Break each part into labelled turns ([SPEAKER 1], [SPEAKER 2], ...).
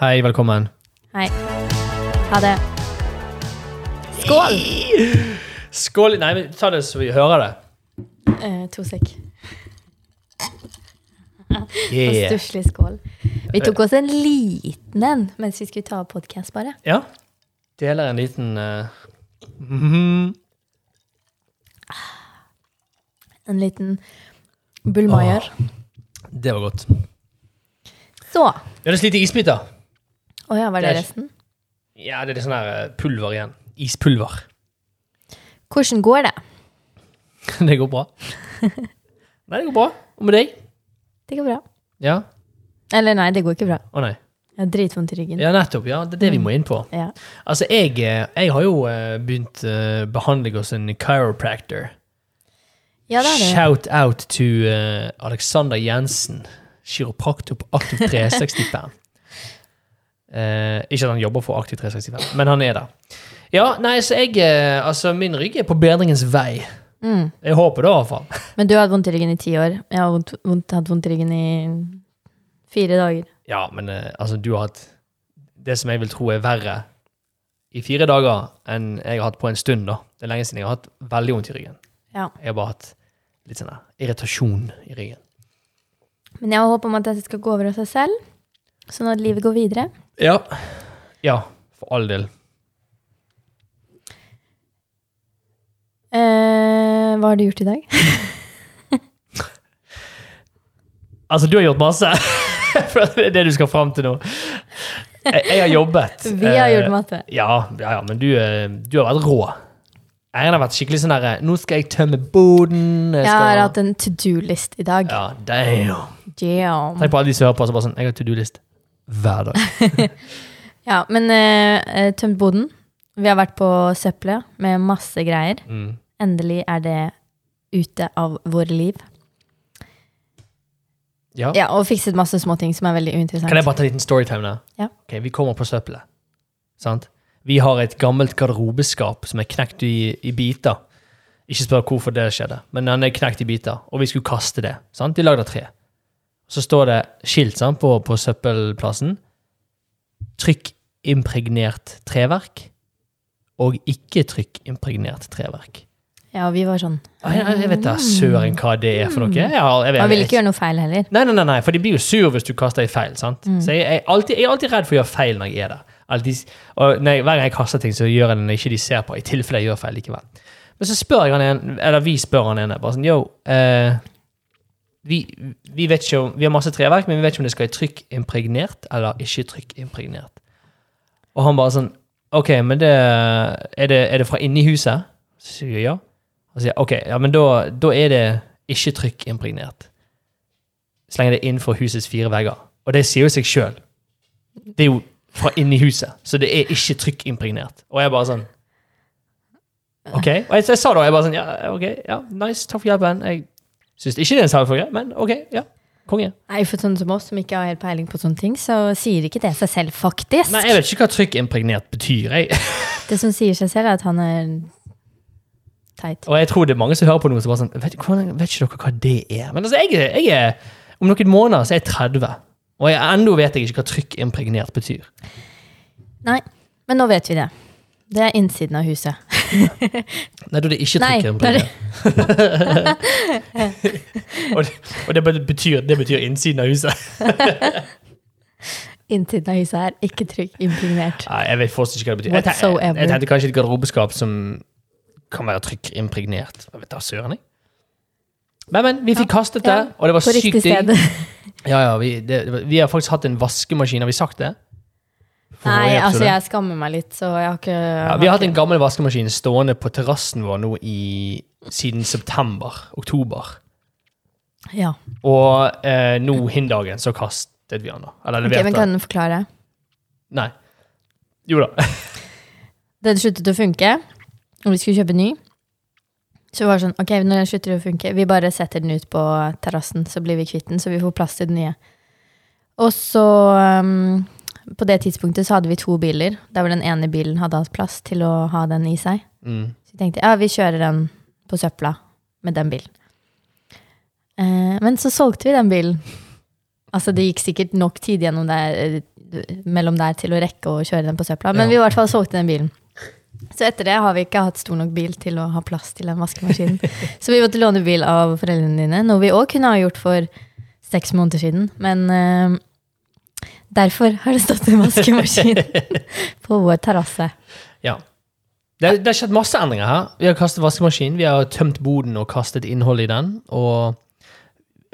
[SPEAKER 1] Hei, velkommen.
[SPEAKER 2] Hei. Ha det. Skål!
[SPEAKER 1] Skål Nei, men ta det så vi hører det.
[SPEAKER 2] Eh, to sek. Og stusslig skål. Vi tok oss en liten en mens vi skulle ta podkast, bare.
[SPEAKER 1] Ja. Deler en liten eh, mhm.
[SPEAKER 2] En liten bullmaier.
[SPEAKER 1] Det var godt.
[SPEAKER 2] Så.
[SPEAKER 1] Vi hadde slitt i isbiter.
[SPEAKER 2] Å ja, var det
[SPEAKER 1] Det er-
[SPEAKER 2] resten?
[SPEAKER 1] Ja, det er sånn her eh, pulver igjen. Ispulver.
[SPEAKER 2] Hvordan går det?
[SPEAKER 1] Det går bra. Nei, det går bra. Og med deg?
[SPEAKER 2] Det går bra.
[SPEAKER 1] Ja.
[SPEAKER 2] Eller nei, det går ikke bra.
[SPEAKER 1] Å nei.
[SPEAKER 2] Jeg har dritvondt i ryggen.
[SPEAKER 1] Ja, nettopp. Ja, det er det vi må inn på.
[SPEAKER 2] Ja.
[SPEAKER 1] Altså, jeg, eh, jeg har jo eh, begynt eh, behandling hos en chiropractor.
[SPEAKER 2] Ja, det er det.
[SPEAKER 1] Shout out to eh, Alexander Jensen, kiropraktor på Aktiv 365. Eh, ikke at han jobber for Aktiv 365, men han er der. Ja, nei, så jeg eh, Altså, min rygg er på bedringens vei.
[SPEAKER 2] Mm.
[SPEAKER 1] Jeg håper det, i hvert fall.
[SPEAKER 2] Men du har hatt vondt i ryggen i ti år. Jeg har vondt, vondt, hatt vondt i ryggen i fire dager.
[SPEAKER 1] Ja, men eh, altså, du har hatt det som jeg vil tro er verre i fire dager enn jeg har hatt på en stund, da. Det er lenge siden jeg har hatt veldig vondt i ryggen.
[SPEAKER 2] Ja.
[SPEAKER 1] Jeg har bare hatt litt sånn der irritasjon i ryggen.
[SPEAKER 2] Men jeg har håp om at dette skal gå over av seg selv, sånn at livet går videre.
[SPEAKER 1] Ja. Ja, for all del.
[SPEAKER 2] Eh, hva har du gjort i dag?
[SPEAKER 1] Altså, du har gjort masse. For det er det du skal fram til nå. Jeg, jeg har jobbet.
[SPEAKER 2] Vi har
[SPEAKER 1] Eh,
[SPEAKER 2] gjort matte.
[SPEAKER 1] Ja, ja, ja men du, eh, du har vært rå. Eirin har vært skikkelig sånn derre Nå skal jeg tømme boden. Jeg
[SPEAKER 2] Jeg
[SPEAKER 1] skal...
[SPEAKER 2] har hatt en to do-list i dag.
[SPEAKER 1] Ja, damn.
[SPEAKER 2] Damn.
[SPEAKER 1] Tenk på alle de som hører på, så bare sånn Jeg har to do-list hver dag.
[SPEAKER 2] Ja, men eh, eh, tømt boden. Vi har vært på søppelet med masse greier.
[SPEAKER 1] Mm.
[SPEAKER 2] Endelig er det ute av våre liv.
[SPEAKER 1] Ja.
[SPEAKER 2] Ja, og fikset masse småting som er veldig uinteressant.
[SPEAKER 1] Kan jeg bare ta en liten storytime der?
[SPEAKER 2] Ja.
[SPEAKER 1] Ok, Vi kommer på søppelet. Sant? Vi har et gammelt garderobeskap som er knekt i, i biter. Ikke spør hvorfor det skjedde, men den er knekt i biter, og vi skulle kaste det. sant? Vi lagde av tre. Så står det skilt sant, på, på søppelplassen. Trykk impregnert treverk og ikke trykk impregnert treverk.
[SPEAKER 2] Ja, og vi var sånn.
[SPEAKER 1] Å, Jeg, jeg vet da søren hva det er for noe. Jeg, har- jeg, vet-
[SPEAKER 2] Man ville ikke gjøre noe feil heller.
[SPEAKER 1] Nei, nei, nei, nei, for de blir jo sur hvis du kaster i feil. sant? Så jeg, jeg, er alltid, jeg er alltid redd for å gjøre feil når jeg er der. Alltid, og når jeg, hver gang jeg kaster ting, så gjør jeg det når ikke de ser på, i tilfelle jeg gjør feil likevel. Men så spør jeg han en, eller vi spør han ene bare sånn Yo, eh, vi, vi vet ikke om, vi har masse treverk, men vi vet ikke om det skal i trykk impregnert eller ikke trykk impregnert. Og han bare sånn OK, men det Er det, er det fra inni huset? Så sier jeg ja. Og så sier jeg OK, ja, men da, da er det ikke trykk impregnert så lenge det er innenfor husets fire vegger. Og det sier jo seg sjøl. Det er jo fra inni huset, så det er ikke trykkimpregnert. Og jeg bare sånn OK? Og jeg, jeg sa da, jeg bare sånn Ja, OK, ja, nice, takk for hjelpen. Jeg syns ikke det er en selvfølge, men OK, ja. Konge.
[SPEAKER 2] Nei, for sånne som oss som ikke har helt peiling på sånne ting, så sier ikke det seg selv, faktisk.
[SPEAKER 1] Nei, jeg vet ikke hva trykkimpregnert betyr, jeg.
[SPEAKER 2] Det som sier seg selv, er at han er teit.
[SPEAKER 1] Og jeg tror det er mange som hører på noe som bare sånn Vet, hvordan, vet ikke dere hva det er? Men altså, jeg, er- jeg er Om noen måneder så er jeg 30, og jeg, ennå vet jeg ikke hva trykkimpregnert betyr.
[SPEAKER 2] Nei, men nå vet vi det. Det er innsiden av huset.
[SPEAKER 1] Nei, da er det ikke
[SPEAKER 2] Nei,
[SPEAKER 1] trykker en
[SPEAKER 2] da er det-
[SPEAKER 1] og det, og det, bare betyr, det betyr innsiden av huset.
[SPEAKER 2] Innsiden av huset er ikke trygg impregnert.
[SPEAKER 1] Nei, jeg vet fortsatt ikke hva det betyr. Jeg, te- jeg,
[SPEAKER 2] Whatsoever.
[SPEAKER 1] jeg tenkte kanskje et garderobeskap som kan være trykkimpregnert. Jeg vet da søren, jeg. Men, men, vi fikk kastet det,
[SPEAKER 2] Ja,
[SPEAKER 1] og det var
[SPEAKER 2] På riktig
[SPEAKER 1] sykt digg.
[SPEAKER 2] sted.
[SPEAKER 1] Ja, ja, vi, det, det var- vi har faktisk hatt en vaskemaskin, har vi sagt det? For
[SPEAKER 2] Nei,
[SPEAKER 1] forrige episode.
[SPEAKER 2] altså, jeg skammer meg litt, så jeg har ikke
[SPEAKER 1] ja, Vi har hatt en gammel vaskemaskin stående på terrassen vår nå i, siden september, oktober.
[SPEAKER 2] Ja.
[SPEAKER 1] Og eh, nå hin dagen så kastet vi han da. Eller
[SPEAKER 2] Ok,
[SPEAKER 1] leverte
[SPEAKER 2] men
[SPEAKER 1] den.
[SPEAKER 2] kan du forklare?
[SPEAKER 1] Nei. Jo da.
[SPEAKER 2] Den sluttet å funke, og vi skulle kjøpe ny. Så var det sånn, ok, når den slutter å funke, vi bare setter den ut på terrassen, så blir vi kvitt den, så vi får plass til den nye. Og så, um, på det tidspunktet så hadde vi to biler, der hvor den ene bilen hadde hatt plass til å ha den i seg.
[SPEAKER 1] Mm.
[SPEAKER 2] Så vi tenkte, ja, vi kjører den på søpla med den bilen. Eh, men så solgte vi den bilen. Altså, det gikk sikkert nok tid gjennom det, mellom der til å rekke å kjøre den på søpla. Men
[SPEAKER 1] Ja.
[SPEAKER 2] vi i hvert fall solgte den bilen. Så etter det har vi ikke hatt stor nok bil til å ha plass til den vaskemaskinen. Så vi måtte låne bil av foreldrene dine, noe vi òg kunne ha gjort for seks måneder siden. Men eh, derfor har det stått en vaskemaskin på vår terrasse.
[SPEAKER 1] Ja. Det, det har skjedd masse endringer her. Vi har kastet vaskemaskin, vi har tømt boden og kastet innholdet i den. Og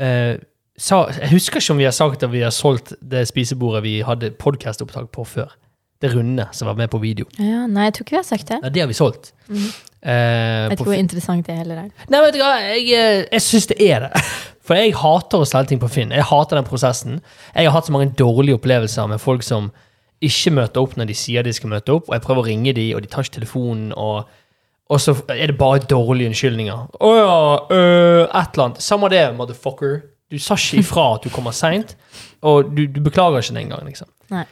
[SPEAKER 1] eh, sa, jeg husker ikke om vi har sagt at vi har solgt det spisebordet vi hadde podcastopptak på før. Det runde som var med på video.
[SPEAKER 2] Ja, nei, jeg tror ikke vi har sagt det.
[SPEAKER 1] Ja, det har vi solgt. Eh,
[SPEAKER 2] Jeg
[SPEAKER 1] på
[SPEAKER 2] tror interessant det heller er.
[SPEAKER 1] Nei, vet du hva, jeg, eh, jeg syns det er det. For jeg hater å selge ting på Finn. Jeg hater den prosessen. Jeg har hatt så mange dårlige opplevelser med folk som ikke møter opp når de sier de skal møte opp, og jeg prøver å ringe de, og de tar ikke telefonen, og, og så er det bare dårlige unnskyldninger. Å ja, øh, et eller annet. Samme det, motherfucker. Du sa ikke ifra at du kommer seint, og du, du beklager ikke den engang, liksom.
[SPEAKER 2] Nei.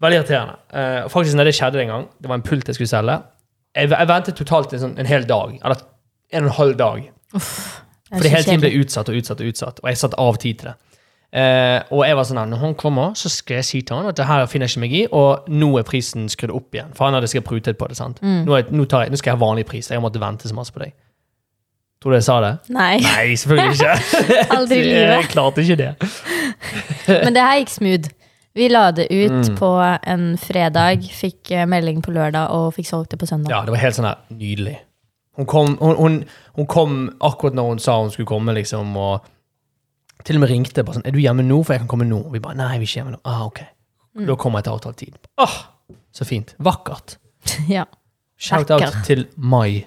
[SPEAKER 1] Veldig irriterende. Eh, og faktisk, når det skjedde en gang, det var en pult jeg skulle selge, jeg, jeg ventet totalt en, sånn, en hel dag, eller en og en halv dag,
[SPEAKER 2] Det er
[SPEAKER 1] fordi
[SPEAKER 2] så
[SPEAKER 1] hele tiden ble
[SPEAKER 2] kjedelig.
[SPEAKER 1] utsatt og utsatt og utsatt, og jeg satt av tid til det. Eh, og jeg var sånn, her, når han kommer, så skal jeg si til han at det her finner jeg ikke meg i, og nå er prisen skrudd opp igjen, for han hadde sikkert prutet på det, sant?
[SPEAKER 2] Mm.
[SPEAKER 1] Nå, er, nå, tar jeg, nå skal jeg ha vanlig pris, jeg har måttet vente så masse på deg. Tror du jeg sa det?
[SPEAKER 2] Nei,
[SPEAKER 1] Nei, selvfølgelig ikke.
[SPEAKER 2] aldri i livet.
[SPEAKER 1] jeg klarte ikke det.
[SPEAKER 2] Men det her gikk smooth. Vi la det ut
[SPEAKER 1] Mm.
[SPEAKER 2] på en fredag, fikk eh, melding på lørdag og fikk solgt det på søndag.
[SPEAKER 1] Ja, det var helt sånn her nydelig. Hun kom, hun, hun, hun kom akkurat når hun sa hun skulle komme, liksom, og til og med ringte bare sånn 'Er du hjemme nå, for jeg kan komme nå?' Og vi bare 'Nei, vi er ikke hjemme nå'. Ah, ok. Da kommer jeg til avtalt tid. Åh, så fint. Vakkert.
[SPEAKER 2] Ja.
[SPEAKER 1] Shout-out
[SPEAKER 2] Vakkert.
[SPEAKER 1] til Mai.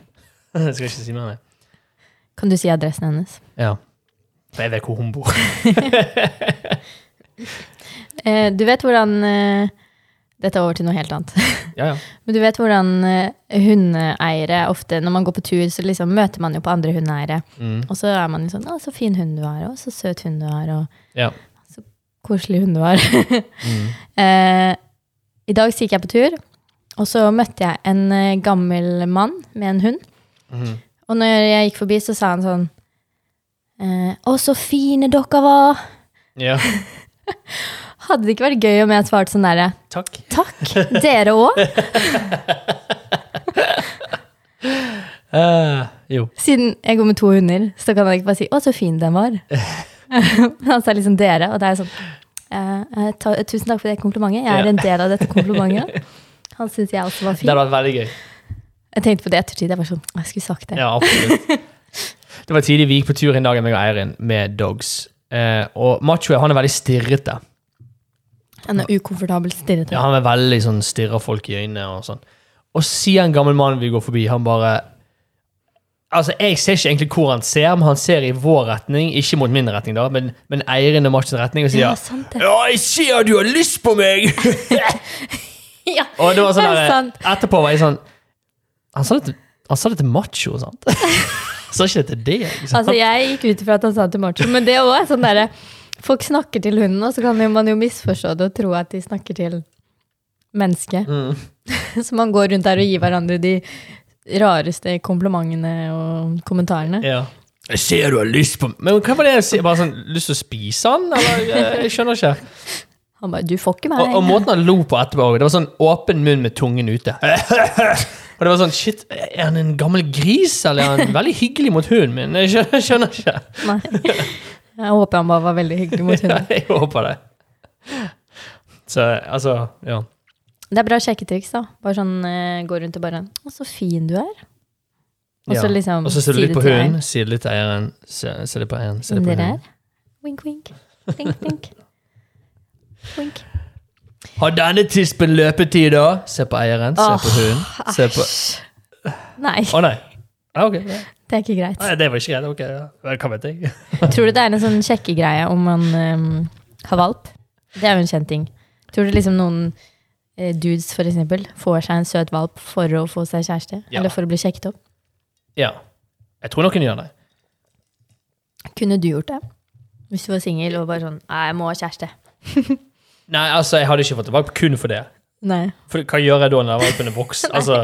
[SPEAKER 1] jeg skal ikke si mer, jeg.
[SPEAKER 2] Kan du si adressen hennes?
[SPEAKER 1] Ja. For jeg vet hvor hun bor.
[SPEAKER 2] Eh, du vet hvordan eh, Dette er over til noe helt annet.
[SPEAKER 1] ja, ja.
[SPEAKER 2] Men du vet hvordan eh, hundeeiere ofte Når man går på tur, så liksom møter man jo på andre hundeeiere.
[SPEAKER 1] Mm.
[SPEAKER 2] Og så er man jo sånn 'Å, så fin hund du har', og 'så søt hund du har', og
[SPEAKER 1] ja.
[SPEAKER 2] koselig hund du har.
[SPEAKER 1] Mm.
[SPEAKER 2] eh, I dag så gikk jeg på tur, og så møtte jeg en eh, gammel mann med en hund.
[SPEAKER 1] Mhm.
[SPEAKER 2] Og når jeg gikk forbi, så sa han sånn eh, 'Å, så fine dere var'.
[SPEAKER 1] ja.
[SPEAKER 2] Hadde det ikke vært gøy om jeg svarte sånn derre
[SPEAKER 1] Takk.
[SPEAKER 2] Takk, dere òg.
[SPEAKER 1] Eh, jo.
[SPEAKER 2] Siden jeg går med to hunder, så kan han ikke bare si 'å, så fin den var'. Men han sa liksom 'dere', og det er sånn eh, eh, ta, Tusen takk for det komplimentet. Jeg
[SPEAKER 1] Ja.
[SPEAKER 2] er en del av dette komplimentet. Han syns jeg også var
[SPEAKER 1] Det
[SPEAKER 2] fin.
[SPEAKER 1] hadde vært veldig gøy.
[SPEAKER 2] Jeg tenkte på det ettertid. Jeg var sånn, jeg skulle sagt det.
[SPEAKER 1] Ja, absolutt. Det var tidlig vi gikk på tur en dag jeg og Eirin med dogs. Eh, og Macho han er veldig stirrete.
[SPEAKER 2] Han er ukomfortabel stirret.
[SPEAKER 1] Ja, han er veldig sånn stirrer folk i øynene og sånn. Og sier en gammel mann vi går forbi, han bare Altså, Jeg ser ikke egentlig hvor han ser, men han ser i vår retning, ikke mot min retning, da, men, men Eirin og Machos retning, og sier
[SPEAKER 2] Ja,
[SPEAKER 1] ja,
[SPEAKER 2] sant det.
[SPEAKER 1] jeg ser du har lyst på meg!
[SPEAKER 2] Ja,
[SPEAKER 1] Og det var sånn
[SPEAKER 2] Det er
[SPEAKER 1] der,
[SPEAKER 2] sant.
[SPEAKER 1] Etterpå var jeg sånn Han sa det til, han sa det til Macho, sant? Han sa ikke det til deg. sant?
[SPEAKER 2] altså Jeg gikk ut ifra at han sa det til Martin, men det òg er sånn derre Folk snakker til hunden, og så kan jo man jo misforstå det og tro at de snakker til mennesket.
[SPEAKER 1] Mm.
[SPEAKER 2] Så man går rundt der og gir hverandre de rareste komplimentene og kommentarene.
[SPEAKER 1] Ja. Jeg ser du har lyst på Men hva var det jeg sier? Bare sånn, lyst til å spise han? Eller, jeg, jeg skjønner ikke.
[SPEAKER 2] Han bare 'du får ikke
[SPEAKER 1] Og, og
[SPEAKER 2] meg'.
[SPEAKER 1] måten han lo på etterpå også, Det var sånn åpen munn med tungen ute. Og det var sånn, shit, Er han en gammel gris, eller er han veldig hyggelig mot hunden min? Jeg skjønner, jeg skjønner ikke.
[SPEAKER 2] Nei. Jeg håper han bare var veldig hyggelig mot hunden.
[SPEAKER 1] Jeg håper det. Så altså, ja.
[SPEAKER 2] Det er bra sjekketriks, da. Bare sånn eh, gå rundt og bare 'Å, så fin du er'. Og så
[SPEAKER 1] Ja.
[SPEAKER 2] liksom
[SPEAKER 1] Og så ser du
[SPEAKER 2] si
[SPEAKER 1] litt på
[SPEAKER 2] til eieren.
[SPEAKER 1] hunden, sier litt til eieren, sier sier litt på eieren, sier litt på
[SPEAKER 2] Dere
[SPEAKER 1] hunden.
[SPEAKER 2] er? Wink, wink. Blink, blink. Wink.
[SPEAKER 1] Har denne tispen løpetid, da? Se på eieren, se på
[SPEAKER 2] Åh,
[SPEAKER 1] hunden. Se på
[SPEAKER 2] Æsj. Nei,
[SPEAKER 1] Å nei. Ah, ok. ja.
[SPEAKER 2] det er ikke greit.
[SPEAKER 1] Nei, det var ikke greit. Ok, ja. Vel, Hva vet jeg?
[SPEAKER 2] Tror du det er en sånn sjekkegreie om man ehm, har valp? Det er jo en kjent ting. Tror du liksom noen eh, dudes for eksempel, får seg en søt valp for å få seg kjæreste?
[SPEAKER 1] Ja.
[SPEAKER 2] Eller for å bli sjekket opp?
[SPEAKER 1] Ja. Jeg tror noen gjør det.
[SPEAKER 2] Kunne du gjort det? Hvis du var singel og bare sånn Nei, jeg må ha kjæreste.
[SPEAKER 1] Nei, altså, jeg hadde ikke fått valp kun for det.
[SPEAKER 2] Nei.
[SPEAKER 1] For hva gjør jeg da når valpen er voksen? Altså,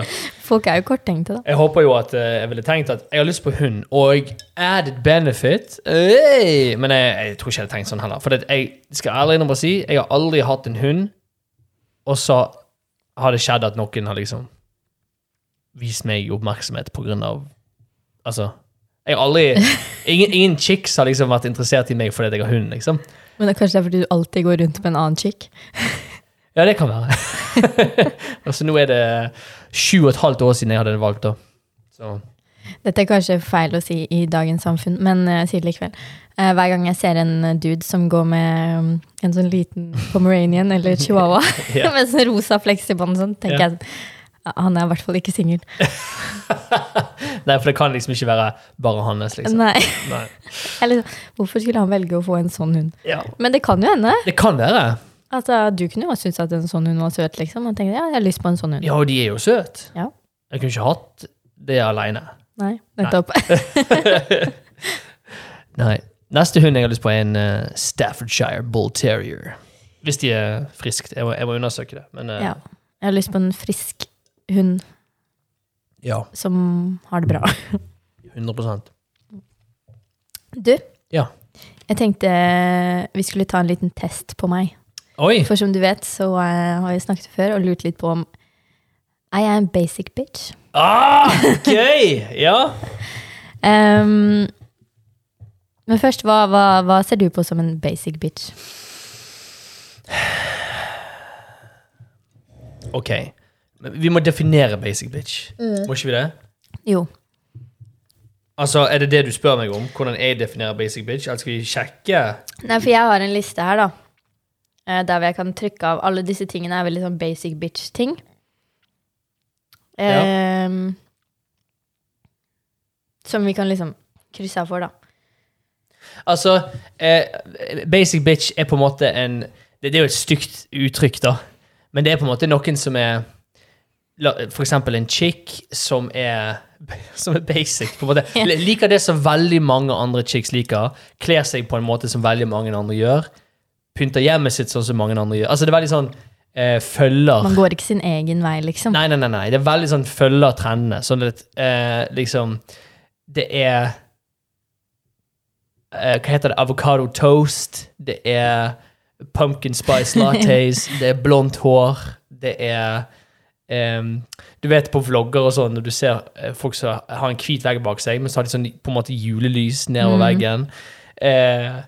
[SPEAKER 2] Folk er jo korttenkte, da.
[SPEAKER 1] jeg håper jo at eh, jeg ville tenkt at jeg har lyst på hund, og added benefit hey! Men jeg, jeg tror ikke jeg hadde tenkt sånn heller. For det, jeg skal ærlig innrømme å si, jeg har aldri hatt en hund Og så har det skjedd at noen har liksom vist meg oppmerksomhet på grunn av Altså, jeg har aldri Ingen, ingen chicks har liksom vært interessert i meg fordi at jeg har hund, liksom.
[SPEAKER 2] Men det er kanskje det er fordi du alltid går rundt med en annen chick.
[SPEAKER 1] Ja, det kan være. altså, nå er det sju og et halvt år siden jeg hadde valgt, da. Så
[SPEAKER 2] Dette er kanskje feil å si i dagens samfunn, men eh, jeg sier det likevel. Eh, hver gang jeg ser en eh, dude som går med um, en sånn liten pomeranian eller chihuahua
[SPEAKER 1] Ja.
[SPEAKER 2] med sånn rosa fleksibånd, sånn, tenker
[SPEAKER 1] Ja.
[SPEAKER 2] jeg "Ja, han er i hvert fall ikke singel.
[SPEAKER 1] Nei, for det kan liksom ikke være bare hans, liksom.
[SPEAKER 2] Nei.
[SPEAKER 1] Nei.
[SPEAKER 2] Eller sånn, hvorfor skulle han velge å få en sånn hund?
[SPEAKER 1] Ja.
[SPEAKER 2] Men det kan jo hende.
[SPEAKER 1] Det kan være.
[SPEAKER 2] Altså, du kunne jo også synes at en sånn hund var søt, liksom. Og tenkte, ja, jeg har lyst på en sånn hund.
[SPEAKER 1] Ja, og de er jo søte.
[SPEAKER 2] Ja.
[SPEAKER 1] Jeg kunne ikke hatt det aleine.
[SPEAKER 2] Nei, nettopp.
[SPEAKER 1] Nei. Neste hund jeg har lyst på, er en eh, Staffordshire Bull Terrier. Hvis de er friskt. Jeg må, jeg må undersøke det. Men eh,
[SPEAKER 2] Ja. Jeg har lyst på en frisk hund
[SPEAKER 1] ja.
[SPEAKER 2] som har det bra.
[SPEAKER 1] 100
[SPEAKER 2] Du?
[SPEAKER 1] Ja.
[SPEAKER 2] Jeg tenkte eh, vi skulle ta en liten test på meg.
[SPEAKER 1] Oi!
[SPEAKER 2] For som du vet, så eh, har jeg snakket før og lurt litt på om Er jeg en basic bitch?
[SPEAKER 1] Ah, gøy! Ja.
[SPEAKER 2] Ehm, men først, hva, hva, hva ser du på som en basic bitch?
[SPEAKER 1] Ok. Men vi må definere basic bitch.
[SPEAKER 2] Mm.
[SPEAKER 1] Må ikke vi det?
[SPEAKER 2] Jo.
[SPEAKER 1] Altså, Er det det du spør meg om? Hvordan jeg definerer basic bitch? Eller skal vi sjekke?
[SPEAKER 2] Nei, for jeg har en liste her, da. Eh, Der hvor jeg kan trykke av alle disse tingene. er veldig sånn basic bitch-ting. Ehm, Som vi kan liksom krysse av for, da.
[SPEAKER 1] Altså, eh, basic bitch er på en måte en det, det er jo et stygt uttrykk, da. Men det er på en måte noen som er la- For eksempel en chick som er som er basic. på en måte.
[SPEAKER 2] Ja.
[SPEAKER 1] Liker det som veldig mange andre chicks liker. Kler seg på en måte som veldig mange andre gjør. Pynter hjemmet sitt sånn som mange andre gjør. Altså, det er veldig sånn eh, følger
[SPEAKER 2] Man går ikke sin egen vei, liksom.
[SPEAKER 1] Nei, nei, nei, nei. Det er veldig sånn følger trendene. Sånn at eh, liksom Det er eh, Hva heter det? Avocado toast. Det er pumpkin spice lattes. det er blondt hår. Det er em, Du vet på vlogger og sånn, når du ser eh, folk som har en hvit vegg bak seg, men så har de sånn på en måte julelys
[SPEAKER 2] Mm.
[SPEAKER 1] nedover veggen. Eh,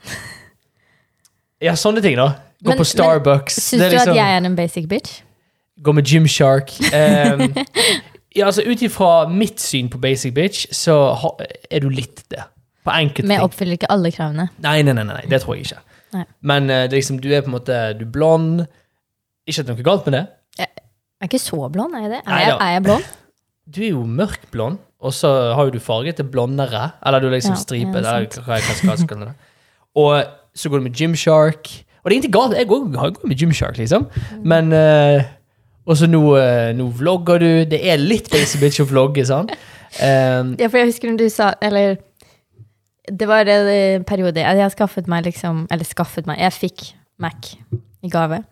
[SPEAKER 1] ja, sånne ting, da. Gå
[SPEAKER 2] Men- men
[SPEAKER 1] på Starbucks.
[SPEAKER 2] Syns
[SPEAKER 1] Det er
[SPEAKER 2] du
[SPEAKER 1] liksom-
[SPEAKER 2] at jeg er en basic bitch?
[SPEAKER 1] Gå med Gymshark. Um, ja, altså ut ifra mitt syn på basic bitch, så ha, er du litt det. På enkelte
[SPEAKER 2] Men jeg
[SPEAKER 1] ting.
[SPEAKER 2] oppfyller ikke alle kravene.
[SPEAKER 1] Nei, nei, nei, nei, det tror jeg ikke.
[SPEAKER 2] Nei.
[SPEAKER 1] Men eh, det er liksom, du er på en måte du er blond. Ikke at det er noe galt med det.
[SPEAKER 2] Jeg er ikke så blond, er jeg det? Er
[SPEAKER 1] Nei
[SPEAKER 2] jeg,
[SPEAKER 1] da.
[SPEAKER 2] er jeg blond?
[SPEAKER 1] Du er jo mørkblond, og så har jo du farget til blondere. Eller du er liksom
[SPEAKER 2] Ja,
[SPEAKER 1] stripet.
[SPEAKER 2] ja,
[SPEAKER 1] eller hva, hva, hva, hva, hva, hva. Og så går du med Gymshark. Og det er ingenting galt. Jeg går, jeg går med Gymshark, liksom. Men eh, Og så nå, eh, nå vlogger du. Det er litt basic bitch å vlogge, sant? Um,
[SPEAKER 2] Ja, for jeg husker når du sa Eller det var en eh, periode jeg, jeg skaffet meg liksom Eller skaffet meg Jeg fikk Mac i gave.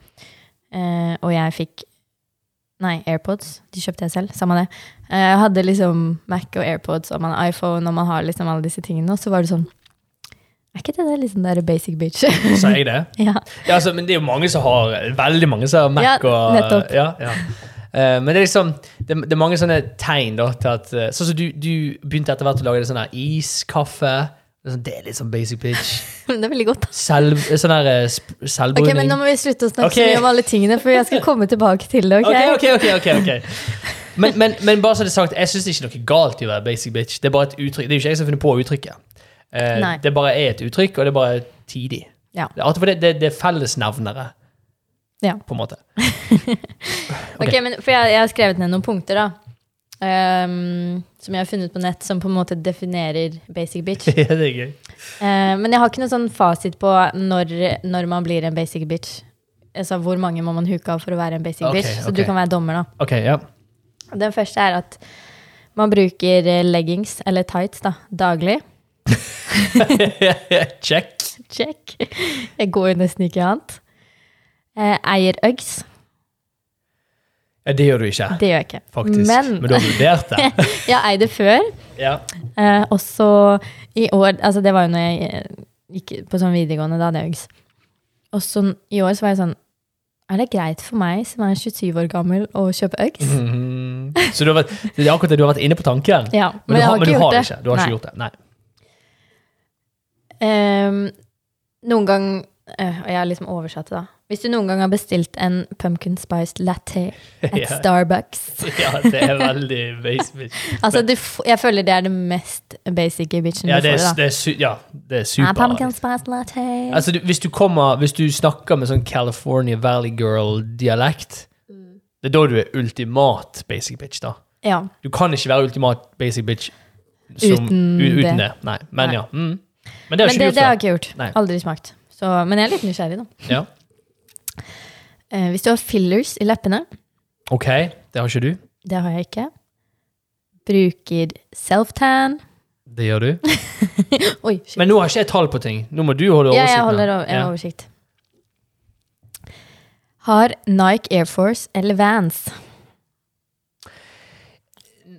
[SPEAKER 2] Eh, og jeg fikk Nei, AirPods. De kjøpte jeg selv. Samme det. Eh, Jeg hadde liksom Mac og AirPods, og man har iPhone, og man har liksom alle disse tingene. Og så var det sånn Er ikke det der liksom der basic bitch?
[SPEAKER 1] Sa jeg det?
[SPEAKER 2] ja.
[SPEAKER 1] Ja, altså, men det er jo mange som har Veldig mange som har Mac
[SPEAKER 2] Ja,
[SPEAKER 1] og
[SPEAKER 2] nettopp.
[SPEAKER 1] Ja, ja. Eh, men det er liksom det, det er mange sånne tegn da, til at eh, Sånn som du, du begynte etter hvert å lage det sånn her iskaffe. Det er sånn- det er litt sånn basic bitch.
[SPEAKER 2] Men det er veldig godt, da.
[SPEAKER 1] Selv, sånn her eh, sp-
[SPEAKER 2] Ok,
[SPEAKER 1] selvbruning.
[SPEAKER 2] men nå må vi slutte å snakke
[SPEAKER 1] Ok.
[SPEAKER 2] så mye om alle tingene, for jeg skal komme tilbake til det. ok?
[SPEAKER 1] Ok, ok, ok, ok, ok. Men, men, men bare så det er sagt, jeg syns det er ikke noe galt i å være basic bitch. Det er bare et uttrykk, det er jo ikke jeg som har funnet på uttrykket. Eh,
[SPEAKER 2] Nei.
[SPEAKER 1] det bare er et uttrykk, og det er bare tidig.
[SPEAKER 2] Ja.
[SPEAKER 1] Det, er alltid- for det, det, det er fellesnevnere,
[SPEAKER 2] Ja.
[SPEAKER 1] på en måte.
[SPEAKER 2] Ok, men for jeg, jeg har skrevet ned noen punkter da ehm, Som jeg har funnet på nett Som på en måte definerer basic bitch
[SPEAKER 1] Ja, det er gøy.
[SPEAKER 2] Eh, Men jeg har ikke noen sånn fasit på når, når man blir en basic bitch Altså hvor mange må man huke av for å være en basic
[SPEAKER 1] Ok,
[SPEAKER 2] bitch Så
[SPEAKER 1] ok.
[SPEAKER 2] du kan være dommer da
[SPEAKER 1] Ok, ja.
[SPEAKER 2] Og Den første er at man bruker eh, leggings eller tights da Daglig
[SPEAKER 1] Check.
[SPEAKER 2] Check Jeg går jo nesten ikke i annet Eh, Eier øgs
[SPEAKER 1] Ja, det gjør du ikke,
[SPEAKER 2] Det gjør jeg ikke
[SPEAKER 1] faktisk. Men,
[SPEAKER 2] Men
[SPEAKER 1] du har vurdert det.
[SPEAKER 2] jeg eide før
[SPEAKER 1] Ja.
[SPEAKER 2] Eh, og så i år Altså, det var jo når jeg eh, gikk på sånn videregående, da hadde jeg UGS. Og så n- i år så var jeg sånn Er det greit for meg som er 27 år gammel å kjøpe øks?
[SPEAKER 1] Mhm. Så du har vært, det er akkurat det du har vært inne på tanken.
[SPEAKER 2] Ja,
[SPEAKER 1] Men, du
[SPEAKER 2] men, jeg
[SPEAKER 1] har,
[SPEAKER 2] har
[SPEAKER 1] men
[SPEAKER 2] ikke
[SPEAKER 1] du
[SPEAKER 2] gjort
[SPEAKER 1] har det
[SPEAKER 2] det.
[SPEAKER 1] ikke. Du har
[SPEAKER 2] Nei.
[SPEAKER 1] ikke gjort det. Nei.
[SPEAKER 2] Ehm, noen gang eh, Og jeg har liksom oversatt det, da. Hvis du noen gang har bestilt en pumpkin spiced latte at
[SPEAKER 1] Ja.
[SPEAKER 2] Starbucks
[SPEAKER 1] Ja, det er veldig basic.
[SPEAKER 2] Altså, du, f- Jeg føler det er det mest basic i bitchen
[SPEAKER 1] Ja,
[SPEAKER 2] du
[SPEAKER 1] det er,
[SPEAKER 2] får. da.
[SPEAKER 1] det er, su ja, det er
[SPEAKER 2] Ah,
[SPEAKER 1] super.
[SPEAKER 2] pumpkin spiced latte.
[SPEAKER 1] Altså, du, hvis, du kommer, hvis du snakker med sånn California Valley Girl-dialekt, det er da du er ultimat basic bitch, da.
[SPEAKER 2] ja.
[SPEAKER 1] Du kan ikke være ultimat basic bitch som,
[SPEAKER 2] Uten
[SPEAKER 1] u- uten
[SPEAKER 2] det.
[SPEAKER 1] det. Nei, men
[SPEAKER 2] Nei.
[SPEAKER 1] ja. Mm. Men det har
[SPEAKER 2] men
[SPEAKER 1] ikke
[SPEAKER 2] det,
[SPEAKER 1] gjort
[SPEAKER 2] det
[SPEAKER 1] før.
[SPEAKER 2] har jeg ikke gjort.
[SPEAKER 1] Nei.
[SPEAKER 2] Aldri smakt. Så, men jeg er litt nysgjerrig, da.
[SPEAKER 1] Ja.
[SPEAKER 2] Eh, hvis du har fillers i leppene,
[SPEAKER 1] Ok, det har ikke du.
[SPEAKER 2] det har jeg ikke. Bruker self-tan.
[SPEAKER 1] Det gjør du.
[SPEAKER 2] Oi, shit.
[SPEAKER 1] Men nå har ikke jeg tall på ting. Nå må du holde
[SPEAKER 2] Ja,
[SPEAKER 1] oversikten.
[SPEAKER 2] jeg
[SPEAKER 1] her.
[SPEAKER 2] holder over, jeg har
[SPEAKER 1] Ja.
[SPEAKER 2] oversikt. Har Nike Air Force eller Vans?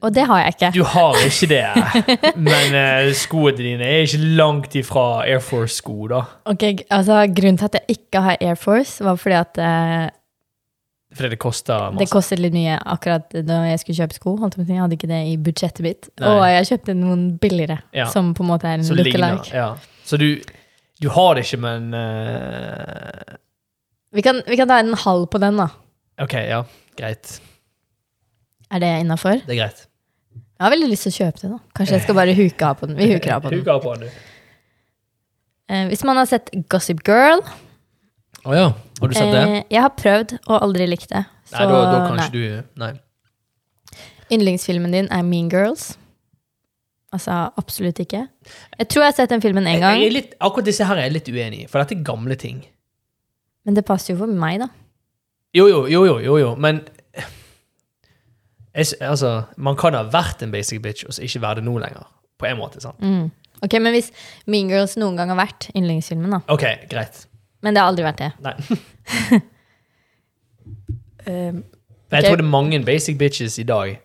[SPEAKER 2] Og det har jeg ikke.
[SPEAKER 1] Du har ikke det, men eh, skoene dine er ikke langt ifra Air Force-sko, da.
[SPEAKER 2] Ok, g- altså, grunnen til at jeg ikke har Air Force, var fordi at eh,
[SPEAKER 1] Fordi det koster
[SPEAKER 2] det
[SPEAKER 1] masse.
[SPEAKER 2] kostet litt mye akkurat da jeg skulle kjøpe sko. Holdt jeg, på å si. jeg hadde ikke det i budsjettet mitt.
[SPEAKER 1] Nei.
[SPEAKER 2] Og jeg kjøpte noen billigere,
[SPEAKER 1] Ja.
[SPEAKER 2] som på en måte er en
[SPEAKER 1] Så ligner.
[SPEAKER 2] look-alike.
[SPEAKER 1] Ja. Så du, du har det ikke, men eh,
[SPEAKER 2] Vi, kan- vi kan ta en halv på den, da.
[SPEAKER 1] Ok, ja. Greit.
[SPEAKER 2] Er det innafor?
[SPEAKER 1] Det er greit.
[SPEAKER 2] Jeg har veldig lyst til å kjøpe det. da. Kanskje jeg skal bare huke av på den. Vi huker av på den.
[SPEAKER 1] Huker på den, du.
[SPEAKER 2] Eh, hvis man har sett Gossip Girl
[SPEAKER 1] Å ja. Har du sett det?
[SPEAKER 2] Eh, jeg har prøvd og aldri likt det.
[SPEAKER 1] nei, da, da kan ikke du Nei.
[SPEAKER 2] Yndlingsfilmen din er Mean Girls. Altså absolutt ikke. Jeg tror jeg har sett den filmen én
[SPEAKER 1] Jeg,
[SPEAKER 2] gang,
[SPEAKER 1] jeg er litt, akkurat disse her er jeg litt uenig i, for dette er gamle ting.
[SPEAKER 2] men det passer jo for meg, da.
[SPEAKER 1] Jo, jo, jo, jo, jo, jo. men jeg, s- Altså, man kan ha vært en basic bitch og så ikke være det nå lenger. På en måte, sant?
[SPEAKER 2] Mm. Ok, Men hvis Mean Girls noen gang har vært yndlingsfilmen, da.
[SPEAKER 1] Ok, greit.
[SPEAKER 2] Men det har aldri vært det.
[SPEAKER 1] Nei.
[SPEAKER 2] Um,
[SPEAKER 1] Men jeg
[SPEAKER 2] Ok.
[SPEAKER 1] tror det er mange basic bitches i dag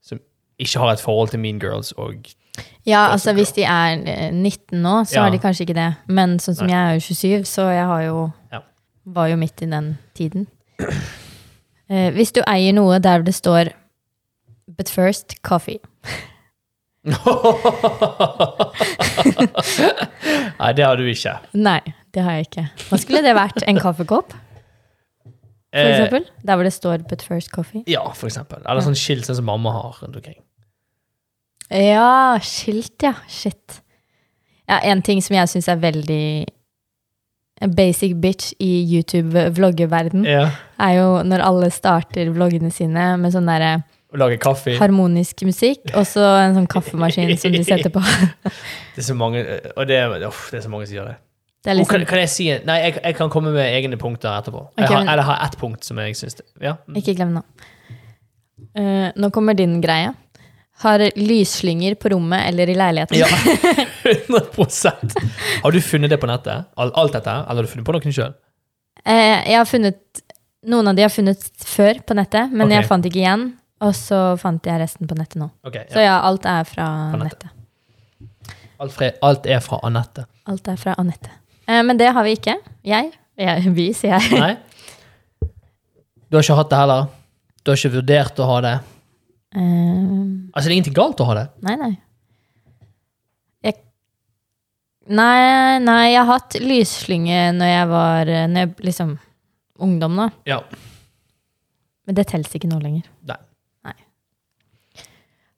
[SPEAKER 1] som ikke har et forhold til Mean Girls og
[SPEAKER 2] ja,
[SPEAKER 1] Gossip
[SPEAKER 2] altså
[SPEAKER 1] Girl.
[SPEAKER 2] hvis de er eh, 19 nå, så
[SPEAKER 1] Ja.
[SPEAKER 2] har de kanskje ikke det. Men sånn som
[SPEAKER 1] Nei.
[SPEAKER 2] jeg er jo 27, så jeg har jo
[SPEAKER 1] Ja.
[SPEAKER 2] var jo midt i den tiden. Eh, hvis du eier noe der det står 'But first, coffee'.
[SPEAKER 1] Nei, det har du ikke.
[SPEAKER 2] Nei, det har jeg ikke. Hva skulle det vært? En kaffekopp, for
[SPEAKER 1] Eh,
[SPEAKER 2] eksempel? Der hvor det står 'But first coffee'.
[SPEAKER 1] ja, for eksempel. Eller sånn skilt sånn som mamma har rundt omkring.
[SPEAKER 2] Ja, skilt, ja. Shit. Ja, en ting som jeg syns er veldig en basic bitch i YouTube-vloggeverden,
[SPEAKER 1] Ja.
[SPEAKER 2] er jo når alle starter vloggene sine med sånn derre
[SPEAKER 1] Og lage kaffe.
[SPEAKER 2] harmonisk musikk, og så en sånn kaffemaskin som de setter på.
[SPEAKER 1] Det er så mange, eh, og det, er- uff, det er så mange som gjør det.
[SPEAKER 2] Det er
[SPEAKER 1] Og kan,
[SPEAKER 2] liksom
[SPEAKER 1] kan jeg si en- Nei, jeg, jeg kan komme med egne punkter etterpå.
[SPEAKER 2] Ok,
[SPEAKER 1] jeg har,
[SPEAKER 2] men-
[SPEAKER 1] eller har ett punkt som jeg syns ja. mm.
[SPEAKER 2] sånn- Ikke glem det. Eh, nå kommer din greie. Har lysslynger på rommet eller i leiligheten.
[SPEAKER 1] ja. 100 Har du funnet det på nettet? Alt, alt dette? Eller har du funnet på noen sjøl?
[SPEAKER 2] Eh, jeg har funnet Noen av de jeg har funnet før på nettet, men
[SPEAKER 1] Ok.
[SPEAKER 2] jeg fant ikke igjen. Og så fant jeg resten på nettet nå.
[SPEAKER 1] Ok,
[SPEAKER 2] Så
[SPEAKER 1] ja.
[SPEAKER 2] ja, alt er fra
[SPEAKER 1] På nettet.
[SPEAKER 2] nettet.
[SPEAKER 1] alt, fra- alt er fra Anette.
[SPEAKER 2] Alt er fra Anette. Eh, men det har vi ikke. Jeg. jeg vi, sier jeg.
[SPEAKER 1] Nei? Du har ikke hatt det heller? Du har ikke vurdert å ha det?
[SPEAKER 2] Eh,
[SPEAKER 1] Altså, det er ingenting galt å ha det.
[SPEAKER 2] nei, nei. Jeg, nei, nei, jeg har hatt lysslynge når jeg var eh, når jeg, liksom ungdom, da.
[SPEAKER 1] Ja.
[SPEAKER 2] Men det teller ikke nå lenger.
[SPEAKER 1] Nei.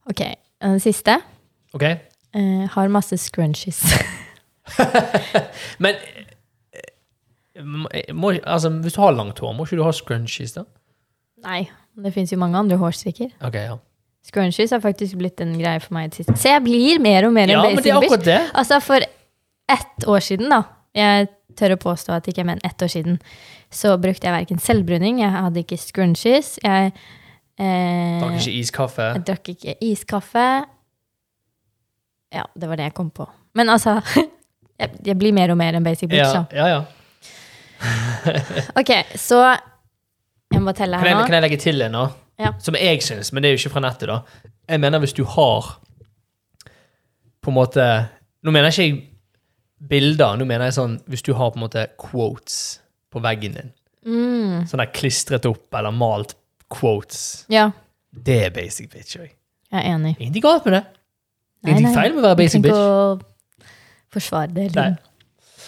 [SPEAKER 2] Ok, eh, den siste.
[SPEAKER 1] Ok?
[SPEAKER 2] Eh, har masse scrunchies.
[SPEAKER 1] Men eh, må, må, altså, hvis du har langt hår, må ikke du ha scrunchies, da?
[SPEAKER 2] nei, det fins jo mange andre hårstrikker.
[SPEAKER 1] Ok, ja.
[SPEAKER 2] Scrunchies har faktisk blitt en greie for meg i det siste. Så jeg blir mer og mer
[SPEAKER 1] Ja,
[SPEAKER 2] en
[SPEAKER 1] men det
[SPEAKER 2] basic
[SPEAKER 1] er
[SPEAKER 2] bitch.
[SPEAKER 1] akkurat det.
[SPEAKER 2] Altså, for ett år siden, da Jeg tør å påstå at ikke, men ett år siden så brukte jeg verken selvbruning, jeg hadde ikke scrunchies, jeg eh,
[SPEAKER 1] Drakk ikke iskaffe.
[SPEAKER 2] Jeg drakk ikke iskaffe. Ja, det var det jeg kom på. Men altså Jeg, jeg blir mer og mer en basic bitch,
[SPEAKER 1] Ja, ja, ja.
[SPEAKER 2] da. Ok, så Jeg må bare telle
[SPEAKER 1] Kan jeg,
[SPEAKER 2] her
[SPEAKER 1] kan
[SPEAKER 2] nå.
[SPEAKER 1] jeg legge til en, da?
[SPEAKER 2] Ja.
[SPEAKER 1] Som jeg syns, men det er jo ikke fra nettet, da. Jeg mener hvis du har på en måte Nå mener jeg ikke jeg bilder, nå mener jeg sånn hvis du har på en måte quotes på veggen din.
[SPEAKER 2] Mm.
[SPEAKER 1] Sånn der klistret opp eller malt quotes.
[SPEAKER 2] Ja,
[SPEAKER 1] Det er basic bitch. Oi.
[SPEAKER 2] jeg er enig.
[SPEAKER 1] Ingenting galt med det.
[SPEAKER 2] Nei,
[SPEAKER 1] Ingenting
[SPEAKER 2] nei.
[SPEAKER 1] feil med å være basic
[SPEAKER 2] Tenk
[SPEAKER 1] bitch.
[SPEAKER 2] å forsvare det.
[SPEAKER 1] Nei.
[SPEAKER 2] Eller?